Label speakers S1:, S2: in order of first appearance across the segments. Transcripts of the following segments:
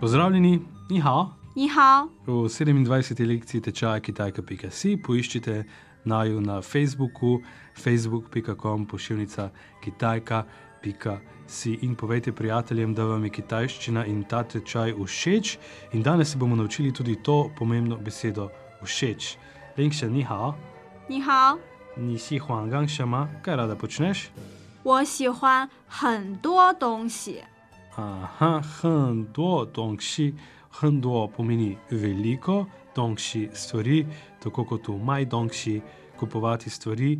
S1: Pozdravljeni, ni hao.
S2: 你好，
S1: V 27. lekciji tečaja kitajka.si poiščite naju na Facebooku, facebook.com pošiljka kitajka.si in povejte prijateljem, da vam je kitajščina in ta tečaj všeč. In danes se bomo naučili tudi to pomembno besedo všeč. Link še ni hao,
S2: 你好，
S1: nisi huangang še ma, kaj rada počneš?
S2: 我喜欢很多东西。
S1: Aha, hendo, dongši, hendo pomeni veliko, dongši stvari, tako kot v maj dongši, kupovati stvari.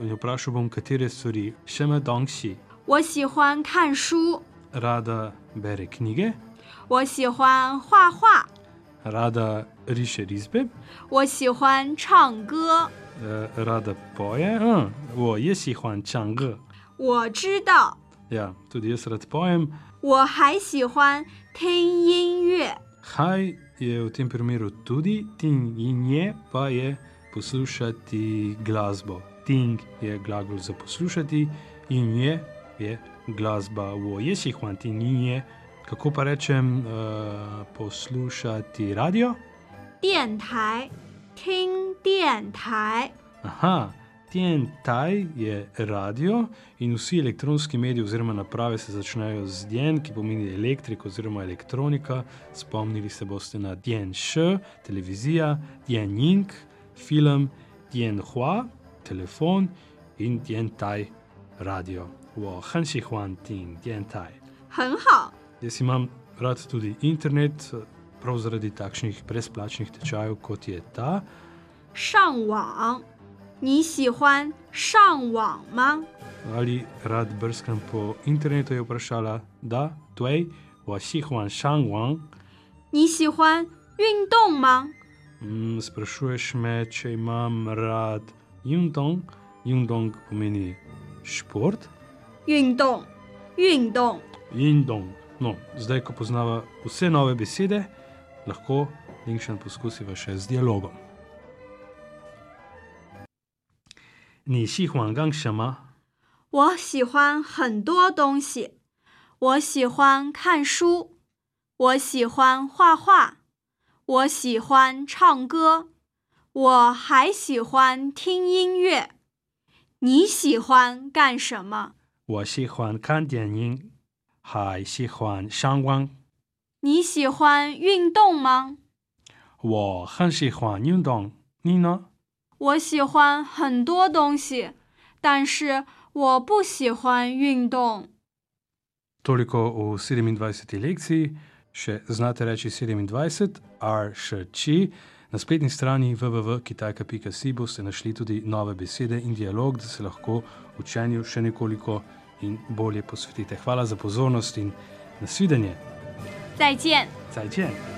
S1: In vprašal bom, katere stvari še me dongši.
S2: 我喜欢看书，
S1: Rada bere knjige,
S2: 我喜欢画画，
S1: rada riše risbe,
S2: 我喜欢唱歌。
S1: eh, rada poje. Uh, o, jaz si huan čang.
S2: 我知道，
S1: Ja, tudi jaz rad pojem.
S2: 我还喜欢听音乐。
S1: Haj je v tem primeru tudi ting in je, pa je poslušati glasbo. Ting je glagol za poslušati in je, je glasba. Wo je si huan ting in je. Kako pa rečem uh, poslušati radio?
S2: 电台，听电台。
S1: Aha, tien taj je radio in vsi elektronski mediji oziroma naprave se začnejo z dien, ki pomeni elektrik oziroma elektronika. Spomnili se boste na dien š, televizija, dien jing, film, dien hua, telefon in dien taj radio. Wo hen si huan ting, dien taj.
S2: 很好，
S1: Jaz imam rad tudi internet, prav zaradi takšnih brezplačnih tečajev kot je ta.
S2: 上网。你喜欢上网吗？
S1: ali rad brskam po internetu, je vprašala, da, tuaj, vasihuan shangwang.
S2: 你喜欢运动吗？
S1: Mm, sprašuješ me, če imam rad Jundong. Jundong pomeni šport.
S2: 运动，运动。
S1: Jundong. No, zdaj, ko poznava vse nove besede, lahko Linkšan poskusiva še z dialogom. 你喜欢干什么？
S2: 我喜欢很多东西，我喜欢看书，我喜欢画画，我喜欢唱歌，我还喜欢听音乐。你喜欢干什么？
S1: 我喜欢看电影，还喜欢上网。
S2: 你喜欢运动吗？
S1: 我很喜欢运动，你呢？
S2: 我喜欢很多东西，但是我不喜欢运动。
S1: Toliko v 27. lekciji, še znate reči 27, RŠČ. Na spletni strani www.kitajka.si e boste našli tudi nove besede in dialog, da se lahko učenju še nekoliko in bolje posvetite. Hvala za pozornost in nasvidenje.
S2: 再见。
S1: Zajčen!